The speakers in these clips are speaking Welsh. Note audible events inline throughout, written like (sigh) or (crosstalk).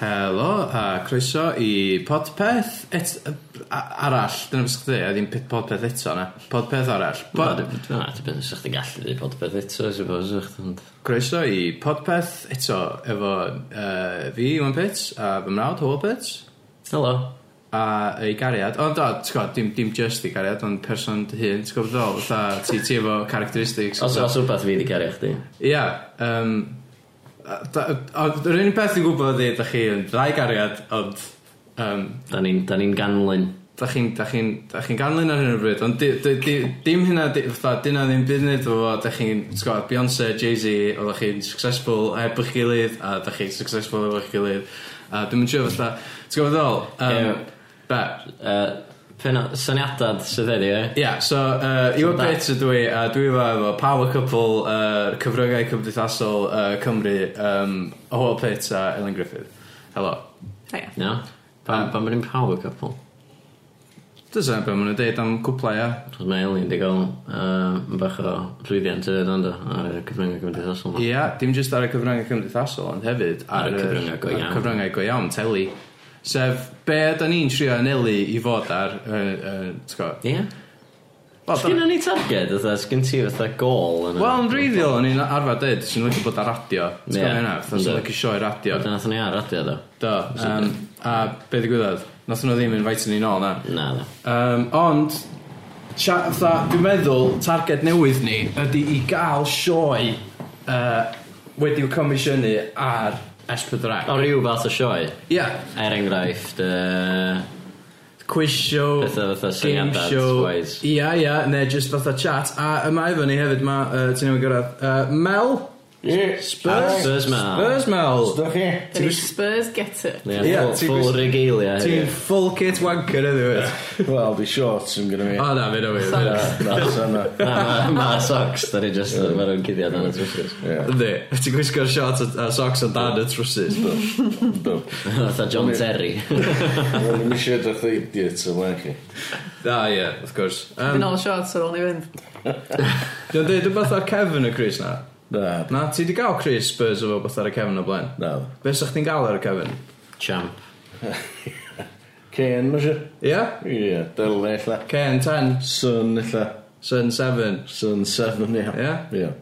Helo a croeso i podpeth et- a- arall. Dyna beth sy'n dweud, a ddim pe- podpeth eto na. Podpeth arall. Bod... Pod... Na, dwi'n bydd ysgrifft yn gallu dweud podpeth eto, I suppose, ych ond... Croeso i podpeth eto efo uh, fi, Iwan Pits, a fy mrawd, Hywel Pits, Helo. a ei gariad. Ond o, ti'n gwybod, dim, dim just ei gariad, ond person dy hun, ti'n gwybod ddol, fatha ti, ti efo characteristics. Os oes rhywbeth fi wedi gario chdi. Ia, um, yr unig beth dwi'n gwybod ydy, da chi yn ddau gariad, ond um, Da ni'n da ni ganlyn. da chi'n da chi'n da chi'n ganlyn ar hyn o bryd ond di- di- di- dim hynna di- fatha dyna ddim byd i neud efo fo da chi'n sgwad Beyonce Jay-Z oeddech chi'n successful heb eich gilydd a da chi'n successful heb eich gilydd a dwi'n mynd siŵr fatha ti'n gwybod ddol um, Ie. be Uh, Pena, syniadad sydd wedi, e? Ia, yeah, so uh, yw So bit ydw i, a dwi efo efo Power Couple, uh, cyfryngau cymdeithasol uh, Cymru, um, a Hwyl Pits a Ellen Griffith. Helo. Hiya. No? Pan pan mae'n power couple. Dyna beth maen nhw'n deud am cwplau, ia. Chos mae Elin di gael uh, bach o llwyddiant yn ynddo ar y cyfryngau gymdeithasol yma. Ia, dim jyst ar y cyfryngau cymdeithasol, ond hefyd Ar y yy, cyfryngau go ar y iawn. cyfryngau go iawn, teli. Sef, be da ni'n trio anelu i fod ar, uh, uh, ti'n gwybod? Ie? Wel, Sgyn dyna- ni targed, oedd sgyn ti fatha gol yn y- Wel, yn reiddiol, o'n i'n arfer dweud, sy'n lygu bod ar radio. Ti'n Ie, gwybod hynna? Fatha, Sy'n yndw. lygu sioe radio. Wedyn nath ni ar radio, do. Do. Um, a be ddigwyddodd? Nathon nhw ddim yn faitio ni nôl, na. Na, do. Um, ond, sia- fatha, dwi'n meddwl, targed newydd ni ydy i gael sioe uh, wedi'w comisiynu ar S4C. O, rhyw fath o sioe. Ia, Er enghraifft, uh, quiz show, Petha fatha game syniadau show, twice. ia, ia, neu just fatha chat. A yma efo ni hefyd, ma, uh, ti'n newid gyrraedd, uh, Mel, Spurs, Spurs Mel. Spurs Mel. chi? Da ni Spurs getter. Ie, Ie, yeah, ti'n full, full gwis- regalia. Ti'n full kit wanker ydw i. Wel, di shorts yn gyda mi. O na, fe na fi. Na, na, sana. Na, ma- ma socks, da ni just yn farw'n cuddiad yn y trwsus. Ynddi, ti'n gwisgo'r shorts a a socks o dan y trwsus. Dwi'n (laughs) Fatha John (laughs) Terry. eisiau edrych dda idiot yn le chi. Da, ie, wrth gwrs. Fy Dwi'n nôl shorts ar ôl ni fynd. dweud rhywbeth ar Kevin y Chris na. Na, Na, ti di gael Chris Spurs o beth ar y Kevin o blaen? na. Be sa'ch ti'n gael ar y Kevin? Champ. Cain, mae eisiau? Ie? Ie, dyle illa. Ken 10, Sun illa. Sun 7. Sun 7, ia. Ie? Ie.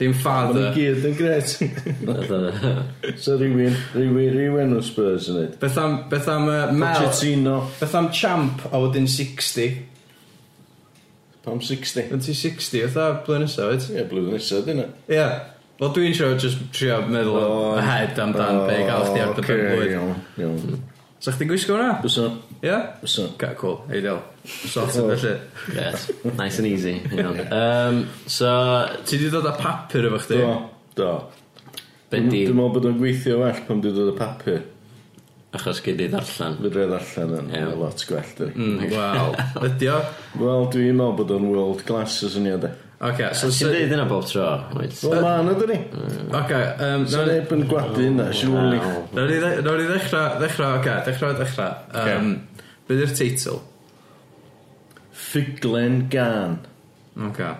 Dim Mae nhw father. gyd yn gret. Fatha- (laughs) So rhywun, rhywun, rhywun o Spurs yn neud. Beth am, beth am uh, Mel? Pochettino. Beth am Champ a wedyn 60? Pam 60. Yn ti 60, oedd blwyddyn nesaf, wyt? Ie, blwyddyn nesaf, dyna. Ie. Wel, dwi'n siarad just trio meddwl O, ahead amdan be i gael chdi ar gyfer blwydd. Iawn, iawn. Sa chdi'n gwisgo hwnna? Bysa, Ie? bysa. Ga, cool. Eidiol. Sorted Cool. felly. (laughs) Yes, nice and easy. iawn. Um, so, Ti di dod â papur efo chdi? Do, do. be Dwi'n di, dwi'n meddwl bod o'n gweithio well pan dwi'n dod y papur. achos gyd i ddarllen. Fyd rhaid allan yn Ie. yeah. lot gwell dwi. Mm, Wel, ydi o? Wel, dwi'n meddwl bod o'n world class y syniad e. Oce, so... Ti'n so- dweud yna bob tro, wyt? Wel, ma yna dyn ni. Oce, Sa'n yym... nawn- neb yn gwadu yna, siwrli. Wel, Nawr ni dde- nawr ni ddechrau, ddechrau, oce, ddechrau, ddechrau. Um, Be di'r teitl? Ffuglen gan. Oce,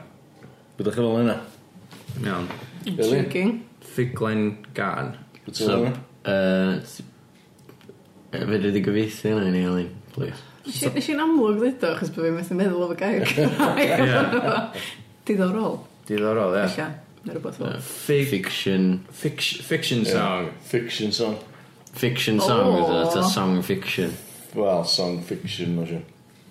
Byddwch chi'n fel yna? iawn. Really? Joking. Ffuglen gan. Byddwch chi'n So, fel yna? uh, fe wedi gyfeithi yna i ni, Elin, please. Nes i- nes i'n amlwg ddweud o, achos bod fi'n methu meddwl o fy (laughs) gair Cymraeg. Diddorol, Diddorol, ie. allan, neu rhywbeth o. Fig... Fiction, fic- Fiction song. Fiction song. fiction song, Oh. oh. it's a song fiction. Wel, song fiction, mae'n siwr.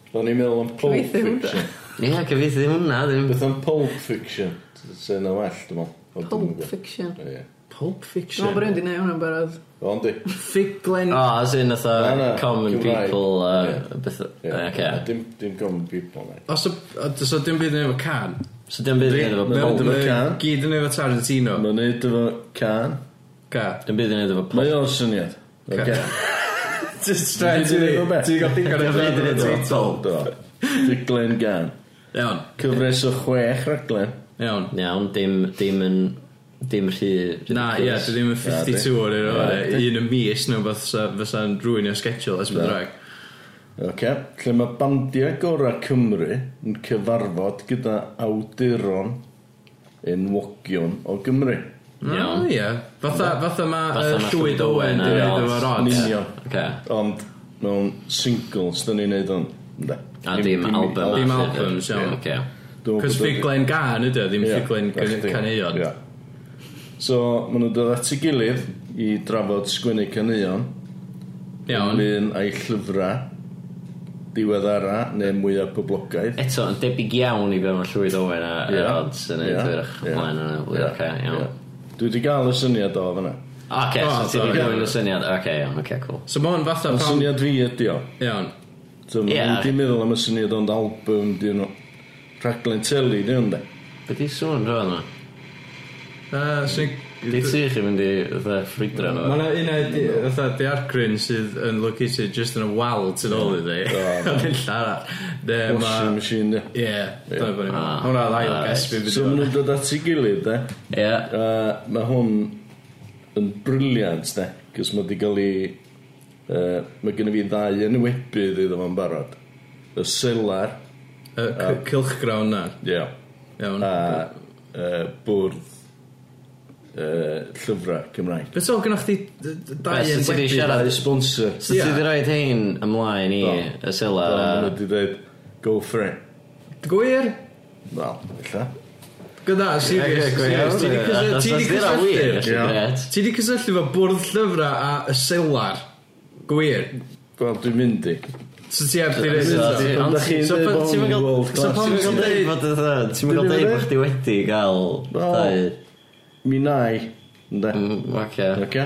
O'n i'n meddwl am pulp Cyfeithi hwnna. fiction. Ie, yeah, gyfeithi hwnna, ddim Beth am pulp fiction? Sa'n yna well, dwi'n meddwl. Ond dwi'm yn Pulp gwbod. fiction. Ie. Pulp Dwi'n meddwl bod fiction. rhywun di neud hwnna'n barod. Ond di. Ffuglen... Oh, as in Na, fatha na, common Cymraeg. people uh, Ie. beth, Ie. yeah. okay. Dim, dim common people, na. Os o... Os o dim byd yn efo can. So dim byd yn Mae efo o'n pulp efo can. Gyd yn efo Tarantino. Mae'n neud efo can. Ca. Dim byd yn efo Mae pulp o'n syniad. Ca. Oce. (laughs) Just Ti straight di neud o beth? Ti di gael digon o Ti di feddwl neud yn o teitl. Do. Ffuglen gan. Iawn, Cyfres o chwech raglen. iawn. Iawn, dim, dim yn Dim rhy Na, ie, dwi ddim yn 52 o'r un o'r un y mis neu beth fysa'n rwy'n i'r schedule es bydrag. Oce. Lle mae bandiau gorau Cymru yn cyfarfod gyda awduron enwogion o Gymru. O, Iawn. Ah, ie. Fatha, fatha ma' Fatha yy, ma' Llywyd Owen a wedi Rod. wneud efo Rod. Yn union. Oce. Ond mewn singles, dyn ni'n neud hwn. Ynde. A dim album. Dim arall, ie. albums, iawn. Oce. Dwi'n meddwl Cos bod- ffuglen gan ydy, o, ddim Ie, ffuglen na can- chdi. caneuon. Ie. So, maen nhw'n dod at ei gilydd i drafod sgwennu caneuon. Iawn. Un a'i llyfrau diweddara neu mwyaf poblogaidd. Eto, yn debyg iawn i be mae Llywyd Owen a Ie. a Rods yn Ie. ei ddweud Ie. chwaen yn y Ie. blwyddyn. Oce, Ie. iawn. Dwi wedi gael y syniad o fanna. Oce, O, so ti sorry. wedi gwneud y syniad. Oce, iawn, oce, cool. So ma' hwn fatha Y pam... syniad fi ydi o. Iawn. So, Ie. yeah. Dwi'n meddwl am y syniad ond album dyn nhw. Rhaglen teli dyn nhw. Be di sŵn rhan yma? Yy, sy'n... Di ti chi fynd i fatha ffridra Mae nhw? yna un o'i di- fatha diargryn sydd yn located just yn y wal tu nôl iddi. Do. (laughs) Yn llall. Ne, Washing ma... machine dyn. Ie, dyna bod ni'n Ah. Hwna'n ail Ah, guess fi So, fydd maen nhw'n dod at ei gilydd, de. Ie. Uh, mae hwn yn briliant, de. Cys mae wedi cael ei... Uh, mae gen i fi ddau yn webydd iddo fo'n barod. Y selar. Y Ah. c- cilchgrawn na. Ie. Yeah. Iawn. A uh, bwrdd uh, llyfrau Cymraeg. Beth o, gynnwch chi d- d- Be, dau yn sut ti 'di wedi siarad? Dau sponsor. So ti wedi rhoi hein ymlaen i Do. y sela Uh, a... maen nhw wedi dweud, go for it. Gwir? Wel, illa. Gwna, serious. serious. Ti 'di cysyll- ti 'di cysylltu. Ie. cysylltu. Ti 'di cysylltu fo bwrdd llyfrau a y selar. Gwir. Wel, dwi'n mynd i. So ti ar Ti'n ddiwedd So, eto. ti- ond dach chi'n So, deud pa- bod ti'm yn hwn yn gael- world so class. pam ti'n Ti'n deud bod fatha, ti'm yn gael Ti'n deud deud? bod chdi wedi gael Wel. dau... Mi nai. Ynde? Mm, Oce. Oce?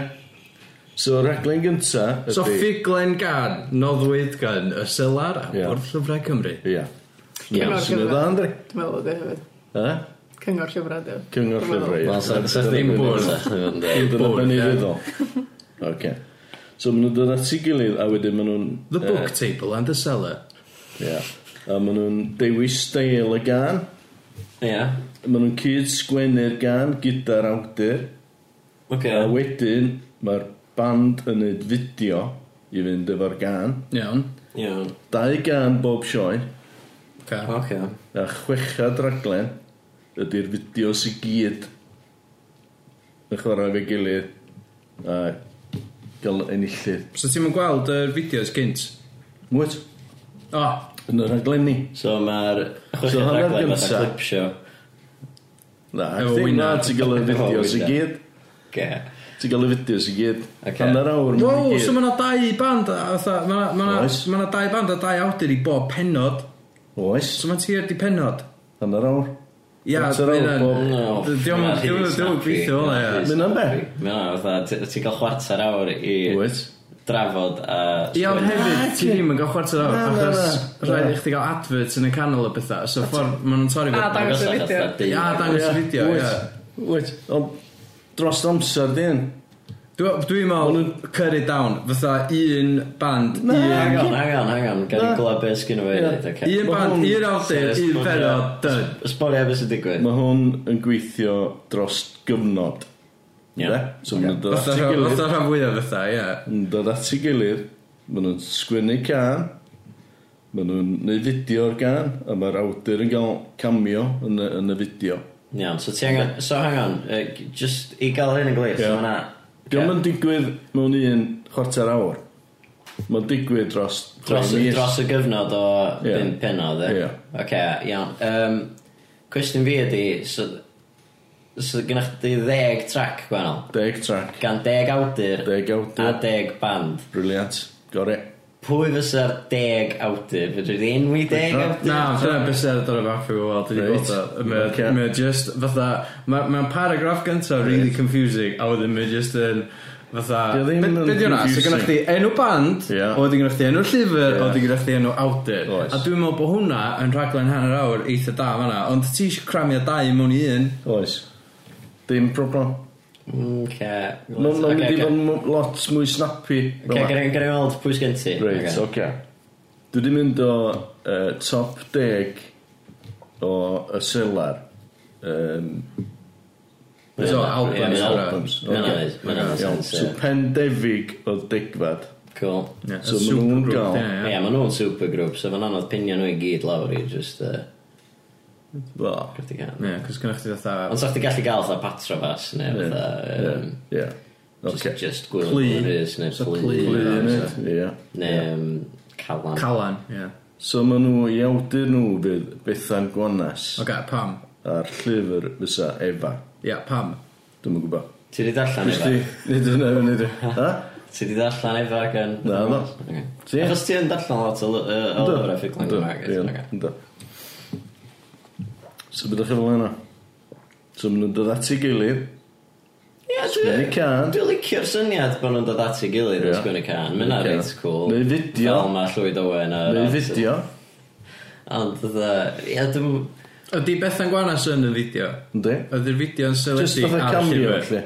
So, raglen gynta ydi... So ffuglen gan, noddwyd gan, y selar a Ie. bwrdd llyfrau Cymru. Ia. Iawn. Sy'n Cyngor y dda, llyfrau. Andri? Dwi'n meddwl oedd e hefyd. E? Cyngor llyfrau, dwi'n. Cyngor llyfrau, Wel, sa- sa ddim bwrdd. sa chdi fynd, ie. Dyna bwrdd, pan i ie. ddiddo. Oce. So, maen nhw'n dod at ei gilydd, a wedyn maen nhw'n... The yy, book table and the cellar. Ia. A maen nhw'n dewis steil y gan. Ie. Maen nhw'n cyd sgwennu'r gan gyda'r awdur. Oce. A wedyn, mae'r band yn neud fideo i fynd efo'r gan. Iawn. Iawn. Dau gan bob sioe. Oce. Oce. A chwechad raglen ydy'r fideos i gyd yn chwarae fe gilydd a gael enillydd. So ti'n mynd gweld yr fideos gynt? Mwyd, O, yn y raglen ni. So mae'r So, chweched hanner raglen fatha gynta. clip show. Na, Efo I think wyna. na, ti'n gael y Efo fideos i wyna. gyd. Oce. Ti'n gael y fideos i gyd. Ocê. Hanner awr ma' nhw Wow, i so gyd. mae yna dau band a fatha, mae yna ma Oes. ma dau band a dau awdur i bob penod. Oes, So mae'n tua'r di penod. hanner awr. Ia, Chwarter awr bob- No, Diolch ma' yn gweithio rili fel snappy, e. rili Mynd am be? snappy. Mae yna fatha, ti'n cael chwarter awr i Wyt. drafod a... Ia, ond sgwennu. hefyd, ti ddim yn gael chwarter Na, awr, na, na. achos Na. rhaid i chdi gael adverts yn y canol o bethau, so ffordd, maen nhw'n torri A, fo. dangos y Agos fideo. fatha dyn. Ia, dangos y Ie, fideo, wyt, ia. Wyt, ond dros amser di hyn. Dwi- Dwi'n meddwl, cut it down, fatha un band, Na, un... Hang on, hang on, hang on. Gael Na. i glwb beth sgyn o fe Ie. ddeud, oce. Un band, Wel, un awdur, Says- un penod, dyn. Sborio beth sy'n digwydd. Mae hwn yn gweithio dros gyfnod. Ie. Ynde? So maen nhw'n dod at Fatha ei gilydd. fatha rhan fwyaf fatha, ia. yn dod at ei gilydd, maen nhw'n sgwennu can, maen nhw'n neud fideo o'r can, a mae'r awdur yn cael cameo yn y, yn y fideo. Iawn, so ti angen... So hang on, uh, just i gael hyn yn glir, Ie. so hwnna... Diolch yn digwydd mewn un chwarter awr. Mae'n digwydd dros... Dros, chwe mis. dros y gyfnod o Ie. bum penod, e? Ie. Oce, iawn. Um, cwestiwn fi ydi, so... So gynnwch chi ddeg track gwahanol. Deg track. Gan deg awdur Deg a awdur. deg band. Briliant. Gore. Pwy fysa'r deg awdur? Fydw i enwi deg awdur? Na, dyna beth sydd ar y map i weld, dwi wedi Reit. bod o. Ocê. Mae- Mae just, fatha, mae'n paragraff gyntaf really confusing, a wedyn mae just yn, fatha... Dio ddim Be- yn be' 'di hwnna? So confusing. gynnwch chdi enw band, Ie. a wedyn gynnwch chdi enw llyfr, Ie. a wedyn gynnwch chdi enw awdur. Oes. A dwi'n meddwl bod hwnna yn rhaglen hanner awr eitha da fanna, ond ti eisiau cramio dau mewn i un. Oes. Dim problem. Oce. Mae'n Oce, okay, mynd i oce. fod yn m- lot mwy snappy. Oce, gyda ni'n gweld pwy sgen ti. Reit, Oce. oce. Dwi wedi mynd o uh, top 10 o y selar. Um, So, albums, Ie, mae'n hwnna. albums. Mae'n Ocê. neud- mae'n neud Iawn, sense, so ie. pendefig o degfad. Cool. Ie, So y ma' nhw'n supergroup, gael- ie, ie. Ie, maen nhw'n supergroup, so fan anodd pinio nhw i gyd lawr i just... Uh, Fo. Gwrdd i gael. Ie, cos gynnwch chi fatha... Ond sa'ch ti gallu gael fatha patra fas, neu Ie. fatha... Ie. yym, Ie. Just, Oce. just gwyl Plu. yn rhys, neu So plu. plu, neu- ie. Ie. Neu yym, calan. Calan, ie. So maen nhw i awdur nhw fydd Bethan Gwanas Oce, pam? a'r llyfr fysa Efa. Ie, pam? Dwi'n yn gwybod. Ti wedi darllen Nes efa? ti? Nid yna, nid (laughs) yna. Ha? Ti wedi darllen efa gan... Na, do. Ocê. Ti? Achos ti yn darllen lot o ly- yy, o lyfrau ffuglen Gymraeg. Ie, Ocê. Yndw. So byddwch chi fel yna? So maen nhw'n dod at ei gilydd. Ie, Sgwennu dwi- cân. Dwi'n licio'r syniad bod nhw'n dod at ei gilydd yn Ie. sgwyn y can. Mae'n Ocê. reit cool. Neu fideo. Fel mae Llywyd Owen a... Neu fideo. Ond dda... Ie, dwi'n... Ydy Bethan Gwanas yn y fideo? Ynddi? Ydy'r fideo yn Just sylwedu fatha ar y cameo, llyfr? lle.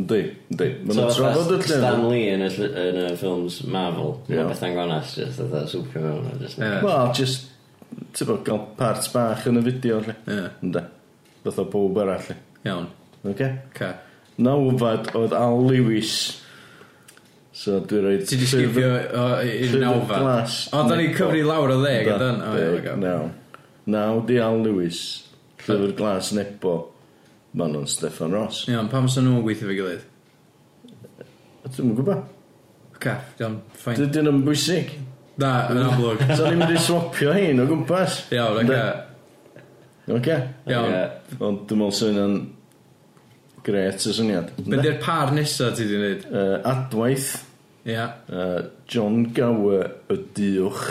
Ynddi, ynddi. Maen So nhw'n fatha trafod y Stan llun. Lee yn y, ll- yn y ffilms Marvel. Ie. Mae Bethan Gwanas just fatha swpio mewn. a jyst- Ie. Wel, just, ti'n bod, gael part bach yn y fideo, lle. Ie, Ynddi. Fatha pob arall, lle. iawn. Oce? Ca. Nawfad oedd Al Lewis. So dwi'n rhoi... Ti di sgipio o i'r Llyfr nawfa? glas. O, da ni cyfri lawr o ddeg, ydan? O, ie, oce. Naw. Naw di Al Lewis. Llyfr glas nebo. Ma'n nhw'n Stefan Ross. Iawn, pam sy'n nhw'n gweithio fe gilydd? Dwi'n gwybod. Ca, iawn, ffain. Dydyn nhw'n bwysig. Da, yn amlwg. (laughs) So ni'n mynd i swapio hyn o gwmpas. Iawn, oce. Oce. Iawn. Ie. Ond dwi'n meddwl sy'n yn gret y syniad. Be di'r par nesa ti di wneud? Uh, adwaith. Ia. Uh, John Gower y diwch.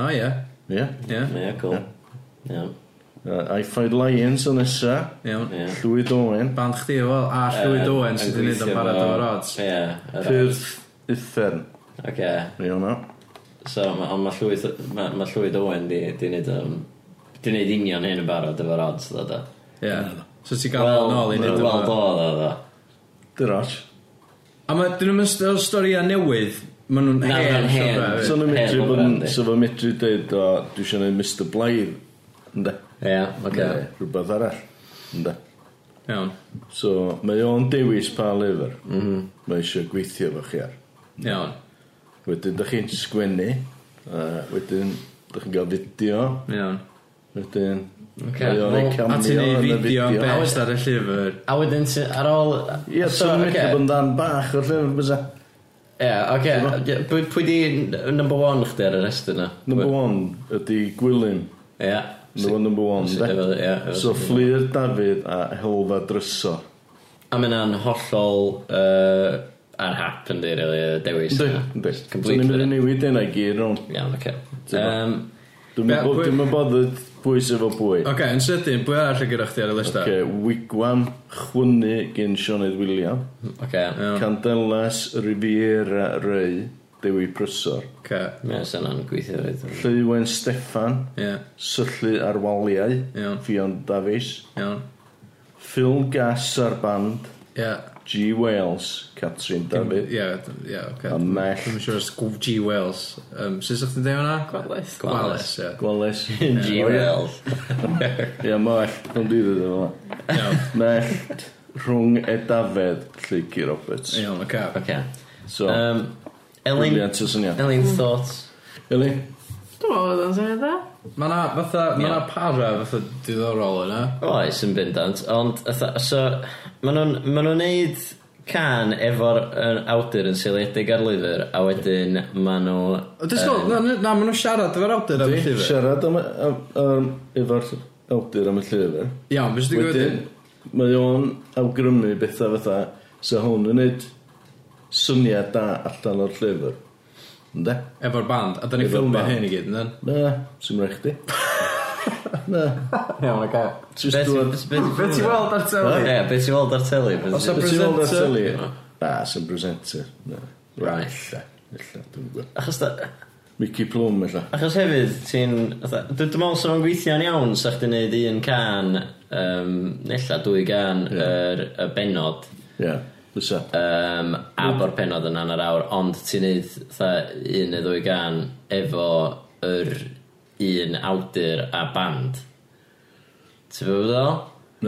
O, ie. Ie. Yeah. Ie, Ie, cool. Iawn, Uh, I Fight Lions o nesa. iawn. ie. Llywyd Owen. Band chdi o fel, a Llywyd Yy, Owen sydd yn wedi wneud o'n gweithio barod efo- o'r odds. Ie. yr odds. Pyrth Uffern. Oce, Ie hwnna. so ma- ond mae Llywyd ma- ma' Llywyd Owen di di wneud yym, di wneud union hyn yn barod efo'r odds dda da. Ie. So ti gael o'n ôl i Wel, wneud wel o'n do dda da. Dyroch. A mae, dyn nhw'n mynd o'r stori a newydd, maen nhw'n Na, hen. maen nhw'n hen. llyfrau hefyd. So nhw'n medru Hen bod yn... Brandy. So fe medru dweud o... Dwi eisiau gwneud Mr Blythe. Ynda. Ie, oce. Neu Rhywbeth arall. Ynda. Iawn, So mae o'n dewis pa lyfr. Mm Mhm. Mae eisiau gweithio efo chi ar. iawn, Wedyn dych chi'n sgwennu. Uh, wedyn dych chi'n gael fideo. iawn. Wedyn... Ocê, Mae o'n ei wel, A ti'n cameo ei yn y fideo am fideo. best ar y llyfr. A wedyn ti, ar ôl... Ie, so nhw'n medru bod yn dan bach o'r llyfr bysa. Ie, oce. Ie, pwy- Pwy di n- number one chdi ar y rest yna? Number one ydy Gwilym. Ie. Number one, number one. Sy- de? efo- ie, efo- So Fflir Dafydd a Helfa Drysor. A mae hynna'n hollol uh, ar hap yn di, really, y dewis. Ynddi, yna. ynddi. So Just ni'n mynd i completely. newid yna i gyd rhwng. Iawn, oce. Ti'n gwbo. Yym, Dwi'n Be- pwy- mynd bothered pwy sydd efo pwy. Oce, yn sydyn, bwy arall y gyda chdi ar y lista? Oce, Wigwam, Chwynnu gen Sioned William. Oce. Iawn, Candelas, Riviera, Rei, Dewi Prysor. oce, Mae os yna'n gweithio rhaid. Llywen Steffan, ie, Syllu ar waliau, Iawn. Fion Davies. iawn, Phil Gas ar band, ie. G Wales, Catrin Dafydd. Ie, d- ie, oce. A Mell. Dwi'n siŵr os G- G. Wales. Um, Sut ydych chi'n deud hwnna? Gwadlys. Gwales, ie. (laughs) Gwales. G. Wells. Ie, mell, ond i ddod yma. Iawn, Mell, rhwng Edafed, Llygi Roberts. iawn, oce. Oce. So, Yym, Elin, brilliant o syniad. Elin thoughts? Eli? Dwi'n meddwl bod o'n syniad dda. Mae na, fatha, mae na Iawn. para fatha diddorol yna. Oes, yn bendant. Ond, fatha, so, maen nhw'n ma nhw neud can efo'r yr awdur yn seiliedig ar lyfr, a wedyn maen nhw... O, Dwi'n sgol, na, na, na, maen nhw'n siarad efo'r awdur am y Di, llyfr. siarad am, am, am, efo'r awdur am y llyfr. Iawn, beth sy'n Wedyn, gwybod? mae o'n awgrymu bethau fatha, so hwn yn neud syniad da allan o'r llyfr. Ynde? Efo'r band, a da ni'n Efo'r ffilmio band. hyn i gyd, yndyn? Na, sy'n rhaid chdi. Na, Iawn, oce. jyst dwi'n... Beth ti'n weld ar teli? Ie, beth ti'n weld ar teli? Beth Os ti- a Beth ti'n weld ar presenter? teli? Na, sy'n presenter. Na. Wel, Ella, ella, dwi'n gwybod. Achos, da- Mickey Plum, ella. achos hefyd, ti'n... fatha, dw- Dwi'n meddwl sef o'n gweithio'n iawn sa'ch di wneud un can, um, nella dwy gan, Ie. yr y benod, Ie, fysa. um, a Hmm. bo'r penod yn hanner awr, ond ti'n neud fatha, un neu ddwy gan efo yr un awdur a band. Ti'n fawr fel?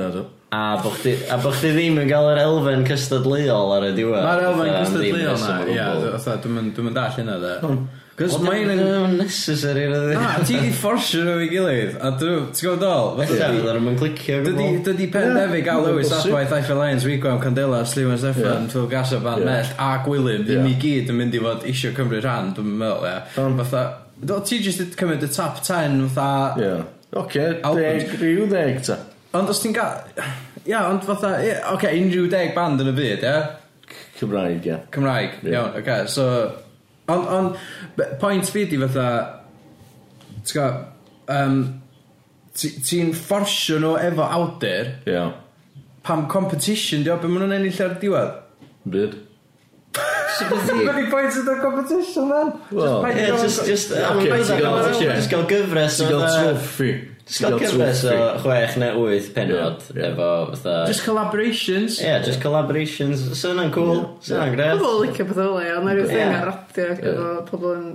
Na, do. A bo chdi, a bo chdi ddim yn cael yr elfen cystadleuol ar y diwedd. Mae'r elfen Fatha, am cystadleuol ddim reswm na, o ia, gwbl. fatha, dwi'm yn- dwi'm yn dall hynna dde. Cos Wel, mae'n mae'n yn... yn necessary rydw Na, (laughs) i. ti di fforsio nhw i gilydd, a dwi'n gwybod dol? Ie, Fatha, fyddan nhw'n clicio o Dydy, gwbl. dydy Pendefi gael Ie, Lewis bosib. Adwaith, Eiffel Lions, Wigwam, Candela, Sliwan Steffan, Ie. Phil Gassa, Van Ie. Mellt a Gwilym, ddim Ie. i gyd yn mynd i fod isio cymryd rhan, dwi'n meddwl, ie. Yym. Fatha, do, ti jyst wedi cymryd y top 10, fatha... Ie. Oce, Albert. deg, rhyw deg ta. Ond os ti'n gael... Ia, ond fatha, ie, oce, unrhyw deg band yn y byd, ie? Cymraeg, ie. Cymraeg, Ie. iawn, oce, so... Ond, ond, be- point fi di fatha... T'w gwbod, yym, ti- ti'n fforsio nhw efo awdur, Ie. pam competition, dio, be maen nhw'n ennill ar diwedd? Byd. Mae'n i pwynt yn y competition, man. Wel, paid Ie, gael- just, just, Ocê, ti'n gael- ocê. just gael gyfres Ti'n gael fatha- troffi. Ti'n gael cyfres o chwech neu wyth penod Ie, ie. efo fatha... Just collaborations. Ie, just collaborations. Sy'n yna'n cool. Sy'n yna'n gred. Pobl licio pethau o ond na Ie. rhyw thing ar radio efo pobl yn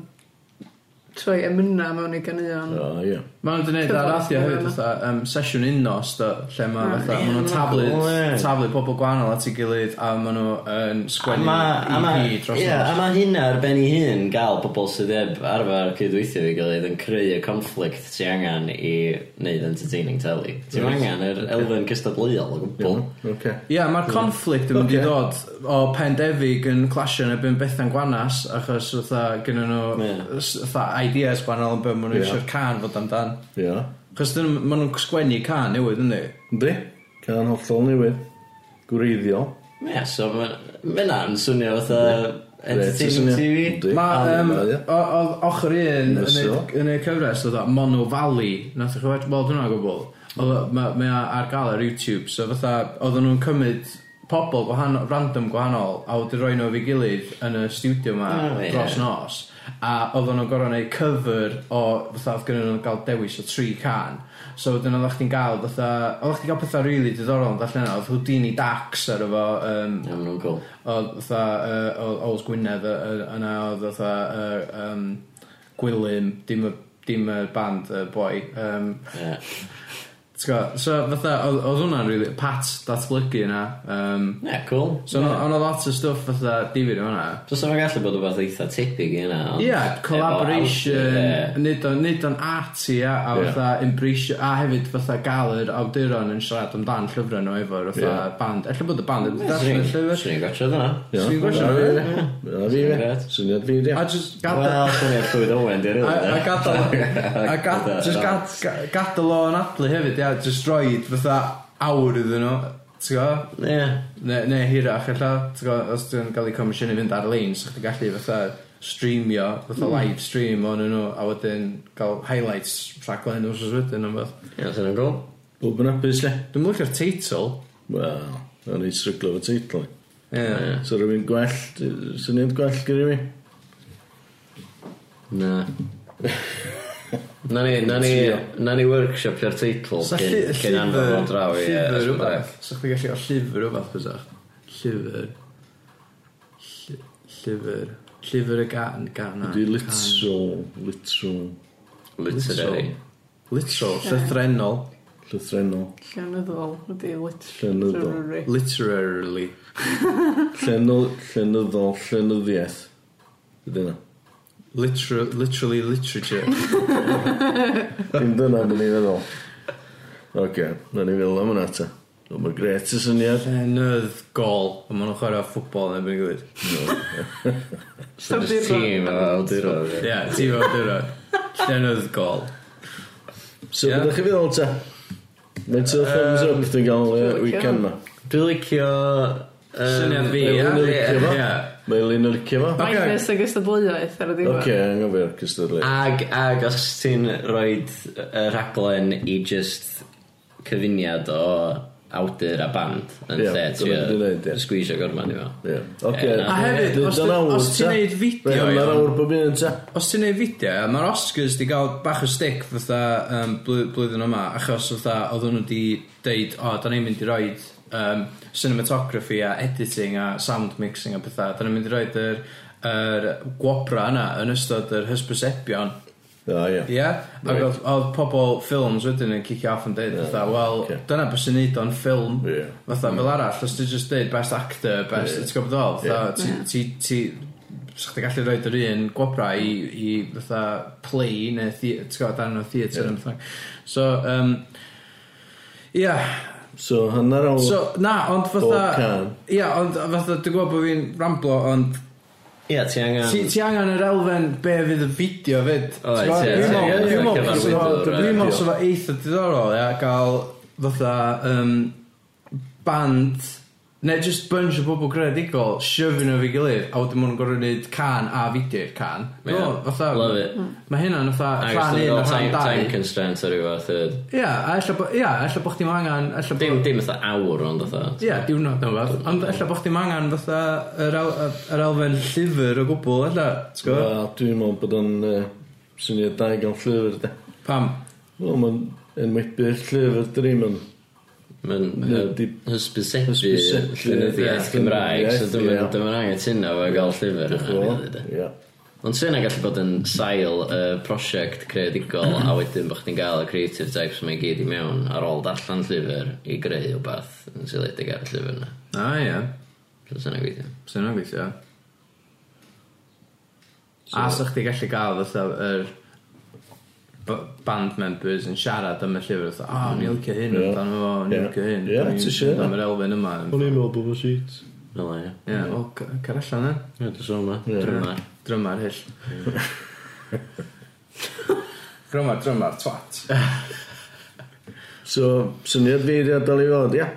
troi emyna mewn i ganeuon. O, ie. Mae nhw'n gwneud ar athio hefyd, fatha, um, sesiwn unnos, do, lle mae Ah, fatha, ie, mae nhw'n ma' tablet, hwnna'n cool, ie. tablet pobl gwahanol at ei gilydd, a mae nhw yn A sgwennu ma- a ma- EP dros ie, a nos. mae hynna ar ben i hyn gael pobl sydd eb arfer cydweithio i gilydd yn creu y conflict ti angen i wneud entertaining telly. Ti Reit. angen yr elfen cystadleuol o gwbl. Oce. Ie, mae'r conflict yn mynd i Ocê. ddod o Pendefig yn clasio yn ebyn Bethan Gwanas, achos fatha gyda nhw Ie. s- fatha ideas gwahanol yn byd maen nhw Ie. eisiau'r can fod amdan. Ie. Chos dyn nhw- maen nhw'n sgwennu can newydd, ynddi? Yndi? Can hollol newydd. Gwreiddiol. Ie, so mae yna'n swnio fatha Reit, entertaining ti'n TV. swnio? Yndi. Mae um, Yndi, ie. oedd ochr un yn y, Nesaf. yn y cyfres oedd o Mono Valley, nath o'ch wedi bod hwnna o gwbl. Oedd- ma- Mae o ar gael ar YouTube, so fatha, oedden nhw'n cymryd pobl gwahanol, random gwahanol, a wedi rhoi nhw fi gilydd yn y studio ma O, ie. dros nos. A oedden nhw'n gorau gwneud cyfr o, fatha, oedd gynnu nhw'n gael dewis o tri can. So wedyn oeddech chdi'n gael, fatha, oeddech chdi'n gael pethau rili diddorol yn dall yna, oedd Houdini Dax ar efo, um, Ie, ma' nhw'n cool. Oedd fatha, yy, oedd Oes Gwynedd yy, yy, yna, oedd fatha yy, yym, Gwilym, dim y, dim y band, y boi. Um, Ie. so fatha, oedd oedd hwnna'n rili, really, pat datblygu yna. Um, Ie, cool. so yeah. ond oedd lot o stwff fatha difyr yn hwnna. Dwi'n sôn gallu bod rhywbeth eitha tebyg i hynna. Ie, ond yeah, collaboration, efo nid o'n, nid o'n arty a, a Ie. fatha embrace, a hefyd fatha gael yr awduron yn siarad amdan llyfrau nhw efo'r fatha Ie. band. Ella bod y band yn awdur, darllen ie. y llyfr. Swn i'n gotio dyna. Ie. Swn i'n gwasio nhw, ie. Dyna fi, fe. Grêt. Syniad fi, ie. A just gadael Wel, swn i'n llwyd Owen, di'r A, a yw'n gadael A gadael Just gad- ga- gadael o'n adlu hefyd Ia, just roed fatha awr iddyn nhw T'w go? Ie. Ne, ne hirach ella T'w go, os dwi'n cael ei comisiynu fynd ar-lein So chdi gallu fatha streamio Fatha live stream o'n nhw A wedyn cael highlights rhaglen nhw Sos wedyn o'n fath Ie, swn i'n cool. Bob yn apus, ie. Dwi'n mwyn llwy'r teitl Wel, o'n i stryglo fo teitl. i. Ie So rhywun gwell, d- syniad gwell gyda fi? Na. Na ni, na ni, na ni workshopio'r teitl Sa llu- cyn cyn anfon o draw i yy, Llyfr Ysbryd. rhywbeth Sa chdi gallu o llyfr rhywbeth bysach Llyfr Lly- Llyfr Llyfr y gan Garna Di literal, literal, Literary. Literal Llythrenol llythrenol, Llenyddol ydy literary. Llenyddol. Literally llenol, llenyddol, llenyddiaeth. Dyna. Literal- Literally literature Dim dyna mynd i'n feddwl. Oce, na ni feddwl am hwnna ta. O, mae gret y syniad. Llenydd gol A maen nhw'n chwarae ffwbol yn ebyn gwyd So just tîm o awdurod. ie. Ie, ti fo dyro Llenydd gol So, Ie. yeah. bydda chi feddwl ta? Mae'n to thumbs up, dwi'n gael y Dwi'n licio. weekend ma. Dwi'n licio... yym, Syniad fi, Elin yn licio fo. ie Ie Mae Elin yn licio fo. Minus y gystadleuaeth ar y diwedd. Oce, anghofio'r cystadlu. Ag, ag os ti'n rhoi y raglen i just cyfuniad o awdur a band yn Ie, lle ti dyna dwi'n neud, ie. y sgwisio gorman i fo. Ie. Oce. Ie, na. A hefyd, os Dyna'n ti- awr, os ti'n ta. neud Mae fideo hwnna'n iawn- awr bob un ta. Os ti'n neud fideo, ia, mae'r Oscars di gael bach o stick fatha um, blwyddyn yma, achos fatha oedden nhw di deud, o, da ni'n mynd i roi um, cinematography a editing a sound mixing a pethau, da ni'n mynd i roi yr, yr gwobra yna yn ystod yr hysbysebion. O, ie. Ie? Ac oedd oedd pobl ffilms wedyn yn cicio off yn dweud, fatha, wel, Ocê. dyna beth sy'n neud o'n ffilm. Ah, Ie. Mm. Fatha, fel arall, os ti'n just dweud best actor, best, Ie. ti'n gwybod ddol, fatha, ti- ti- ti, sa'ch ti'n gallu roed yr un gwobra i, i fatha, play neu, thea- ti'n gwybod, darn o theatr. neu beth bynnag. So, um, Ia, So, hanner awr... so, na, ond Bob fatha... can. Ia, ond fatha, dwi'n gwybod bod fi'n ramblo, ond Ie, ti angen... Ti, ti angen yr elfen be fydd y fideo fyd. Oes, T'mod? ie, Dwi'n meddwl- dwi'n ie, ie, ie, meddwl fysa cyfarwyddwr, fo- ie, Dwi'n meddwl diolch. sy'n eitha diddorol, ia, gael fatha um, band, neu just bunch o bobl gredigol, shyfyn o fi gilydd, a wedyn mwyn gorau wneud can a fideo i'r can. Ie. Dwi'n meddwl, Love it. Mae hynna'n fatha Ac rhan os ti'n un a gael rhan time, time dau. constraint ar ryw fath. yy, Ia, a ella bo- ia, ella bod chdi'n angen... ella bo- Dim, dim fatha awr ond fatha. Ia, diwrnod neu fath. Ond ella bod chdi'n angen fatha yr el- yr elfen llyfr o gwbl, ella. T'w gwbod? Wel, Dwi'n meddwl bod o'n uh, syniad da i gael llyfr, de. Pam? Wel, mae'n enwebu'r llyfr dream yn... Mae'n Nid- hysbysebu hysbysebu llynyddiaeth llenyddiaeth Gymraeg, so ie. dwi'n dwi'n angen tuno fo i gael llyfr yna. really, de. Ie. Ond sy'n gallu bod yn sail uh, prosiect creadigol a wedyn bod chdi'n gael y creative types mae gyd i mewn ar ôl darllen llyfr i greu o bath yn syledig ar y llyfr yna. A ia. So sy'n gweithio. Sy'n yna'n gweithio. A sa'ch chi gallu gael fatha yr b- band members yn siarad am y llyfr fatha, o, ni'n licio hyn, Ie. dan fo, ni'n Ie. licio hyn, Ie, ti isio hynna? am yr elfen yma. O'n i'n meddwl bod o'n sheet. Fel e. Ie, o, c- cer allan e. Ie, dwi'n sôn yma. Drymar. Drymar (laughs) hyll. Drymar, drymar, twat. So, syniad fi wedi adael i fod, ia.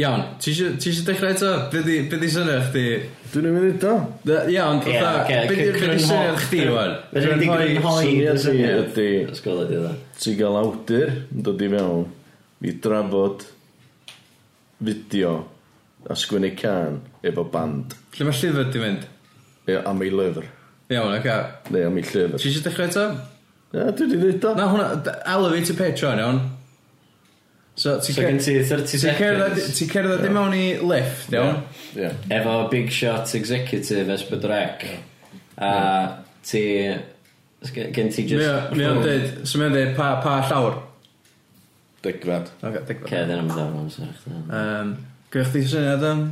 Iawn, ti isio ti isio dechrau eto? Be di- be di syniad chdi? Dwi'n ei wneud o. Na, Ie, ond Ie, fatha, ocê, be di- be di crynho- syniad chdi, wan? Fydden ni'n grynhoi Syniad dy fi syniad. ydy Ysgol ydi dda. ti gael awdur yn dod i mewn i drafod fideo a sgwynnu can efo band. Lle mae llyfr di mynd? E, am ei lyfr. Iawn, oce. Neu am ei llyfr. Ti eisiau dechrau eto? Ie, dwi wedi dweud o. Na, hwnna, d- elevator pitch o'n iawn. So, ti'n So gen cer- ti 30 ti'n cerdded seconds. ti'n cerdded i mewn i lift, iawn? Ie. Efo big shot executive Esbydrec. A ti... Gen ti Mi just... o'n dweud, so mi o'n dweud, pa, pa llawr? Degfad. Oce, digwyd. Cedd yn ymwneud â'n sych. Um, Gwyrch chi syniad am?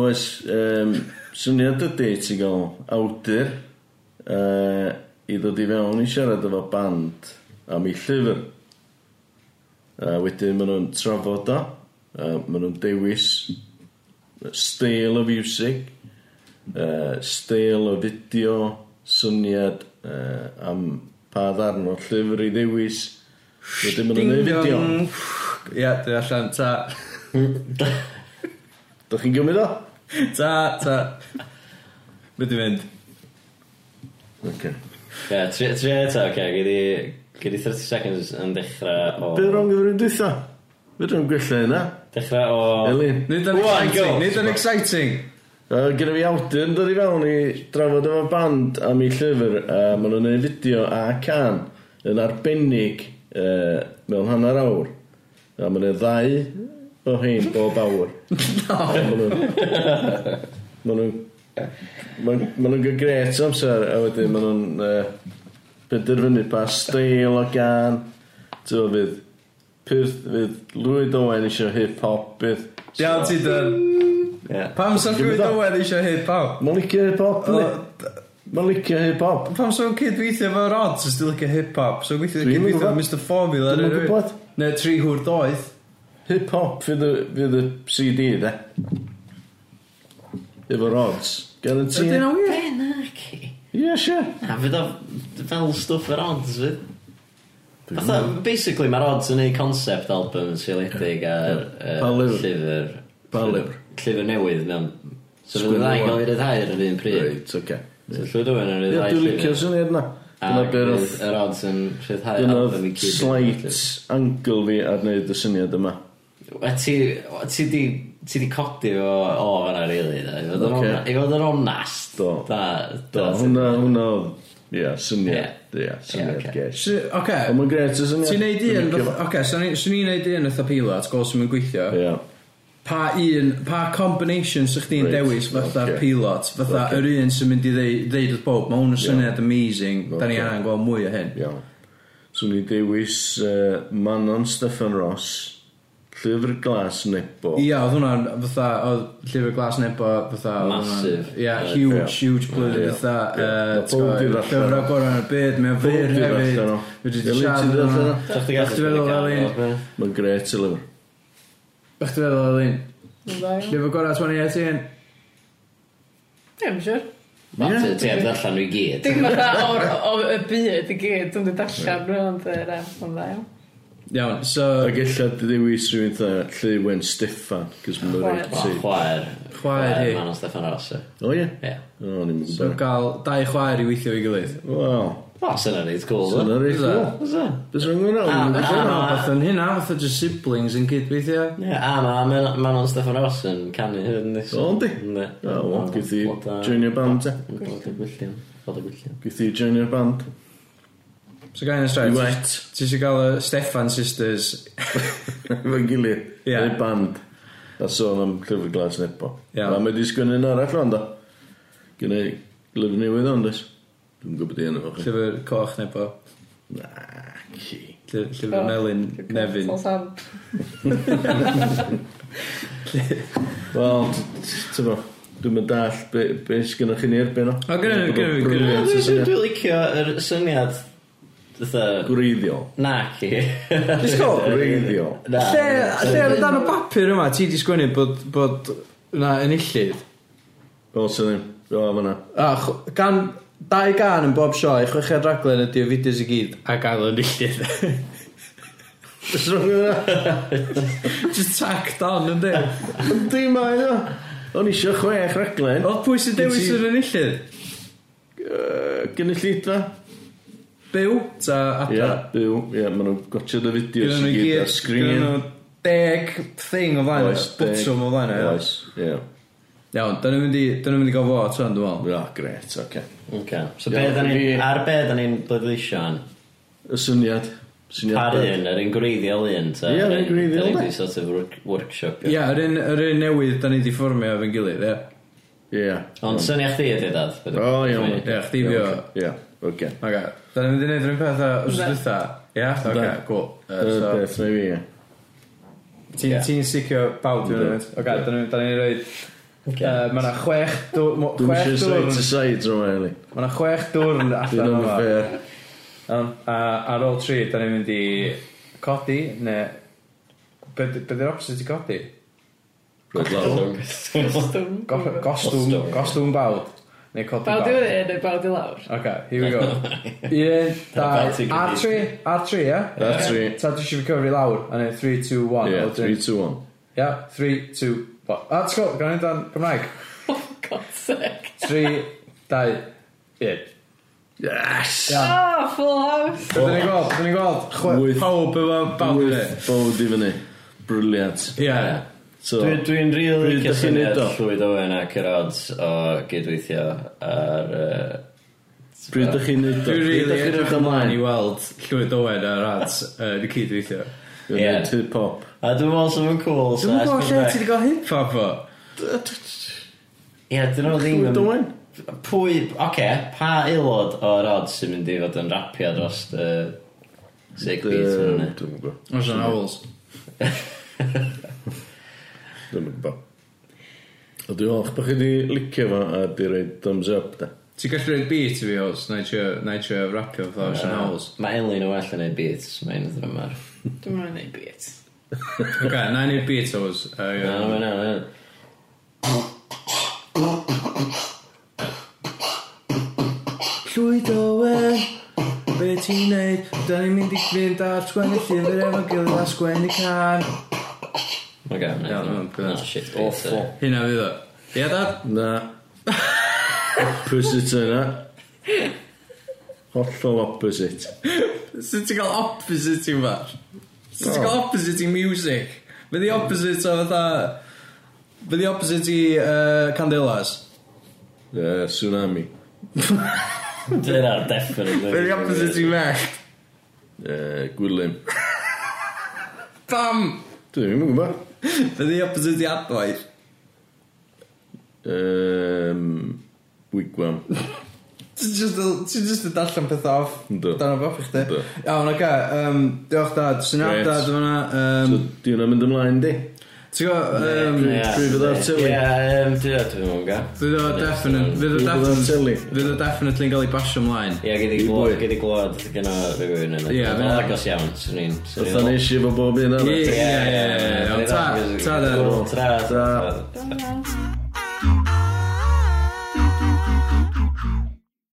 Oes, um, syniad ydy ti gael awdur uh, i ddod i fewn i siarad efo band am ei llyfr. A wedyn maen nhw'n trafod o. Uh, maen nhw'n dewis steil o music, uh, steil o fideo, syniad uh, am pa ddarn o llyfr i ddewis. Wedyn maen nhw'n gwneud fideo. Ia, dwi'n allan, ta, Dach chi'n gymryd o? ta, ta. Be di mynd? Okay. Ie, tri tri eto, oce, gei di 30 seconds yn dechrau o... Be rong gyfer yn dwytha? Be rong gwella yna? Dechrau o... Elin. Nid yn Go on, exciting, go. nid yn exciting. Uh, Gyda fi awdur yn dod i fewn i drafod efo band am ei llyfr a maen nhw'n gwneud fideo a can yn arbennig uh, mewn hanner awr a maen nhw'n ddau o hyn bob awr Maen nhw'n Maen nhw'n Maen maen nhw'n gael gret amser a wedyn maen nhw'n uh, penderfynu pa steil o gan Ti'n gwbod fydd Pyrth fydd Llywyd Owen eisiau hip-hop bydd Iawn, ti dyn. Ie. Pam sa'n Dwi'n gwybod meddwl- Owen eisiau hyd pawb? Mae'n licio hip-hop yndi? Mae'n licio hip-hop Pam sa'n cydweithio fo rods ys dwi'n licio hip-hop? So'n gweithio Dwi'm yn cydweithio gwbod. Mr Formula Dwi'm yn neu rywun? gwbod. Neu tri hwr doedd. Hip-hop fydd y- fydd y CD de Efo rods Guarantee Ydyn nhw wir? Be na ci? Ie sure Na, fydd o fel stwff yr odds, fydd. Fatha, basically mae'r odds yn ei concept album syliedig ar yy, Pa lyfr? llyfr. Pa lyfr? Llyfr newydd, mewn. So Sgwennu fydd y wan. ddau gael ei ryddhau ar yr un pryd. Reit, oce So llwyd o'n Ie, ryddhau Dwi'n licio llyfr. syniad na Dyna Ac Ah, beth fydd yr odds yn rhyddhau album i Dyna'r gyd. slight angle fi ar wneud y syniad yma. Wel, Ti ti di, ti di codi o, o fanna, really. da. I fod yn Ocê. hon- I fod yn onast. Do. Da, Do, da, hwnna, hwnna, oedd- ie, syniad, Ie. ie, syniad Ie, ocê. gesh. Sy- Oce. Ond mae'n gret y syniad. Ti'n neud un, Dwi'n licio fo. oce, swn i'n neud un eitha pilot, gos yn gweithio. Ie, pa un, pa combination sy'ch chdi'n Reit, dewis fatha'r ocê. pilot, fatha Ocê. yr un sy'n mynd i ddeu- ddeud wrth bob, mae hwn yn syniad amazing, da ni Ocê. angen gweld mwy o hyn. Iawn. So ni dewis uh, Manon Steffan Ross, Llyfr Glas Nebo. Ia, oedd hwnna'n fatha, oedd llyfr glas nebo fatha... oedd hwnna'n- Massive. Ia, Yy, huge, ie. huge blwyddyn Ie. fatha. Ie. yy, Ma' ti'n bob gwbod, dim allan o. Llyfr agor yn y byd, mae'n fyr dim hefyd. allan o. Fedri di Elin, ti di siarad yn allan hwnna. o? Sa'ch chdi Bach ti'n gallu feddwl gael fel un? o? Mae'n gret y lyfr. Bach ti'n feddwl fel un? Ie, Llyfr gorau 2018. mae'n siwr. Matt, ti heb ddarllen nhw i gyd. Dim fatha o'r o'r- y byd i gyd, dwi'n di darllen rhywun, ond yy, na, mae'n dda iawn. Iawn, so... Ac ella dy dewis rhywun dda Llywen Steffan, cys mae'n Chwaer. reit O, ti. Chwaer. Chwaer hi. Manon Steffan Ross. ie. O ie? Ie. O, ni'n mynd So bach. gael dau chwaer i weithio i gilydd. Wel, O, sy'n rhaid cool. dyna ddo. reit cool. Oes e? Bys rwy'n gwneud Ah, nawr? ma- Dwi'n fath yn hynna, fath o just siblings yn cydweithio. Ie, a ma- ma- Manon Steffan Ross yn canu hyn. O, yndi? Ne. O, Ah, wel, gwyth i Bloda- joinio'r band, te. Bod y gwyllion. Bod y gwyllion. Gwyth i joinio'r band. So gael yn I straight. wet. Ti eisiau gael y Stefan Sisters. Efo'n gilydd. Ie. Yn y band. A sôn am llyfr glas nebo. Ie. A mae di sgwynnu'n arall o'n da. Gynna i lyfr newydd o'n dys. Dwi'n gwybod i enw chi. Llyfr coch neu bo. Na, ci. Lly- Oh, Llyfr Melin Nefyn. Sol Sam. Wel, ti'n bo, dwi'n mynd all be, be sgynna chi ni erbyn o. O, gynna fi, gynna fi, gynna fi. Dwi'n Brilliant, dwi'n- syniad. dwi'n licio yr syniad Dytha Gwreiddiol. Na (laughs) ci Gwreiddiol. Na Lle, lle ar y dan o bapur yma, ti di sgwennu bod, bod na enillydd. O, sy'n ddim. O, fanna. A, ch- gan, dau gan yn bob sioe, chweched raglen ydy o fideos i gyd, a gael enillydd. Bys rwy'n gwneud (laughs) Just tacked on, ynddi? o. Dwi'n mai o. O'n isio chwech raglen. Oedd pwy sy'n dewis Gen ti- yr enillydd? Gynulleidfa? Byw? Ta Ie, adra? byw. Ie, maen nhw'n gotio'r y fideos Gynna nhw i i gyd gyd, ar gynna sgrin. nhw deg thing o flaen, Oes, bwtwm o flaen. ie. Oes, ie. Iawn, da nhw'n mynd i, da nhw'n mynd i gael fo, ti'n dwi'n meddwl. O, gret, ah, oce. Ok So be da ni'n Ar be da ni'n bleidleisio an Y syniad. syniad Par beth. un Yr un gwreiddiol un ta Ie, yr un gwreiddiol, Da de. ni'n sort of work- workshop Ia, yr un- yr un newydd da ni di fformio efo'n gilydd, ie. Ie. Ond syniad chdi ydy dad be dwi'n- O, iawn. Ie, chdi fi o. Ie, oce. Oce, da ni'n mynd i wneud rhywun peth o Ynde. wrth dwytha. Ie, oce, Ynde. cool. Y Yy, so, beth na fi, ie. ti'n- Ie. Ti'n sicio bawb dwi'n mynd. Oce, da ni'n da ni'n rhoi... Mae yna chwech dwr... mo- Dwi'n Chwech eisiau dwr... side to side rhwng Eli. Mae yna chwech dwr yn Dwi'n allan o'n yma. fair. Iawn, A ar ôl tri, da ni'n mynd i codi, ne... Be be di'r opposite i codi? Gostwng. Stwm. Go- Gostwm, Gostwm, ie. gostwm bawd. Neu codi Bawd i bawd. fyny neu bawd i lawr? Oce, here we (laughs) go. Un, Dyna dau, bawd ti'n ar tri, ar tri, ie? Ar tri. Ta dwi eisiau fi cyfri lawr, a neu 3, 2, 1. Ie, a wedyn- 3, 2, 1. Ia, 3, 2, 1. A, ti'n gwybod, gan i dan Gymraeg. Oh, God's sake. 3, 2, 1. Yes! Ia. Ah, full house. Dyn ni'n gweld, dyn ni'n gweld, chwe- Wyth. pawb efo bawb i Wyth bod i fyny. Brilliant. Ia. So, Dwi- Dwi'n rili Pryd licio dach chi'n syniad neud o? llwyd Owen ac yr odds o gydweithio ar yy, pryd ydych chi'n neud o? Dwi'n Pryd rili dach chi'n edrych neud ymlaen i ymlaen? weld llwyd Owen a'r ads yn y cydweithio. Dwi'n Ie. neud hip-hop. A dwi'n meddwl sy'n mynd cool Dwi'n so gwybod es lle bydd ti wedi cael hip hop o. Ie, dyn nhw ddim Dwi'n yn... dweud? Pwy... Oce, pa aelod o'r odds sy'n mynd i fod yn rapio dros y... Sig beat yn Dwi'n hynny? gwybod. Os yna Owls. Dwi'n gwybod. O, dwi'n holl bod chi wedi licio fo a di roi thumbs up, da. Ti'n gallu rhoi beat i fi Owls, na i trio- na i trio rapio fatha os yna Owls. Mae Elin yn well yn ei beats, mae'n ddrymar. Dwi'n mynd i byd. Ok, na i neud beat Owls. Na, na, na, na. Llwyd Owen Be ti'n neud? Da ni'n mynd i fynd ar sgwennu llyfr efo gilydd a sgwennu can Oce, Iawn, na, iawn, na, brilliant. Ah, shit beat. Awful. eh. Hynna fydd o Ie dad? Na. opposite yna. Hollol opposite. Sut ti'n cael opposite i fa? Sut ti'n cael opposite i music? Be the opposite o fatha Be the opposite i uh, Candelas? Uh, tsunami. Dyna, definitely. Be the opposite i mech? Uh, Gwylym. Bam! Dwi'n ddim yn gwybod. Be di opposite i adwaith? Um, wigwam. Ti'n just, ti just yn darllen pethau off. Yndw. Dan o bop i chdi. Yndw. Iawn, oce. Um, diolch dad. Syniad Grêt. dad yma. So, Um, di hwnna'n mynd ymlaen, di? Ti'n gwybod, Ie. Dwi fydd ar teli. Ie, yym, dwi ar teli mwyn gael. fydd o definite, fydd o Dwi fydd ar definite, teli. fydd o definitely yn cael ei basio ymlaen. Ie, gyd i I glwad, bwy. gyd i glwad gyda fe gwyn yn Ie, Mae'n mae- agos iawn, swn i'n... swn i'n- Fytha nes i efo bob un arall. Ie, ie, ie, ie, ie. Ta, ta, dad. Tra, tra. Ta. Iawn.